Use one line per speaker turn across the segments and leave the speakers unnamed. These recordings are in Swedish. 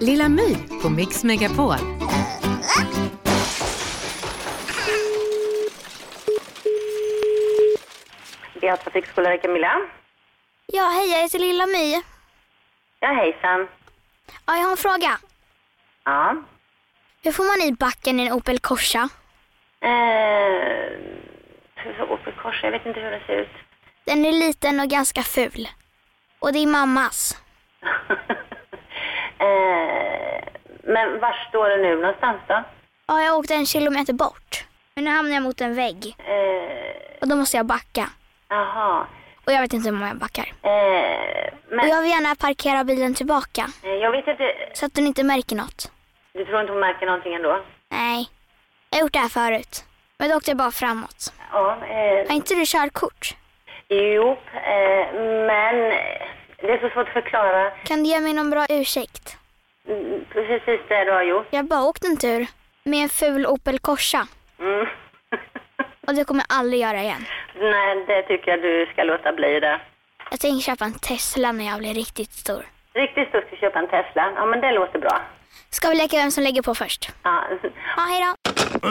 Lilla My på Mix Megapol.
Beata trafikskola Camilla.
Ja, hej, jag heter Lilla My.
Ja, hejsan.
Ja, jag har en fråga.
Ja.
Hur får man i backen i en Opel Corsa?
Eh, hur såg Opel Corsa? Jag vet inte hur den ser ut.
Den är liten och ganska ful. Och det är mammas.
eh, men var står den nu någonstans då?
Ja, jag åkte en kilometer bort. Men nu hamnar jag mot en vägg
Eh,
och då måste jag backa.
Jaha.
Och jag vet inte hur många jag backar.
eh,
Och
men
jag vill gärna parkera bilen tillbaka
eh, jag vet inte.
så att den inte märker något.
Du tror inte hon märker någonting ändå?
Nej, jag har gjort det här förut. Men då åkte jag bara framåt.
Ja. Eh,
Har inte du körkort?
jo, eh, men det är så svårt att förklara
Kan du ge mig någon bra ursäkt?
mm, precis det du har gjort.
Jag bara åkte en tur med en ful Opel Corsa
Mm.
och det kommer jag aldrig göra igen.
Nej, det tycker jag du ska låta bli det.
Jag tänker köpa en Tesla när jag blir riktigt stor.
Riktigt stort att köpa en Tesla. Ja, men det låter bra.
Ska vi leka vem som lägger på först?
Ja.
Ja, hej då!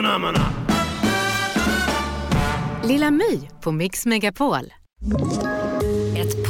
Lilla My på Mix Megapol.
Ett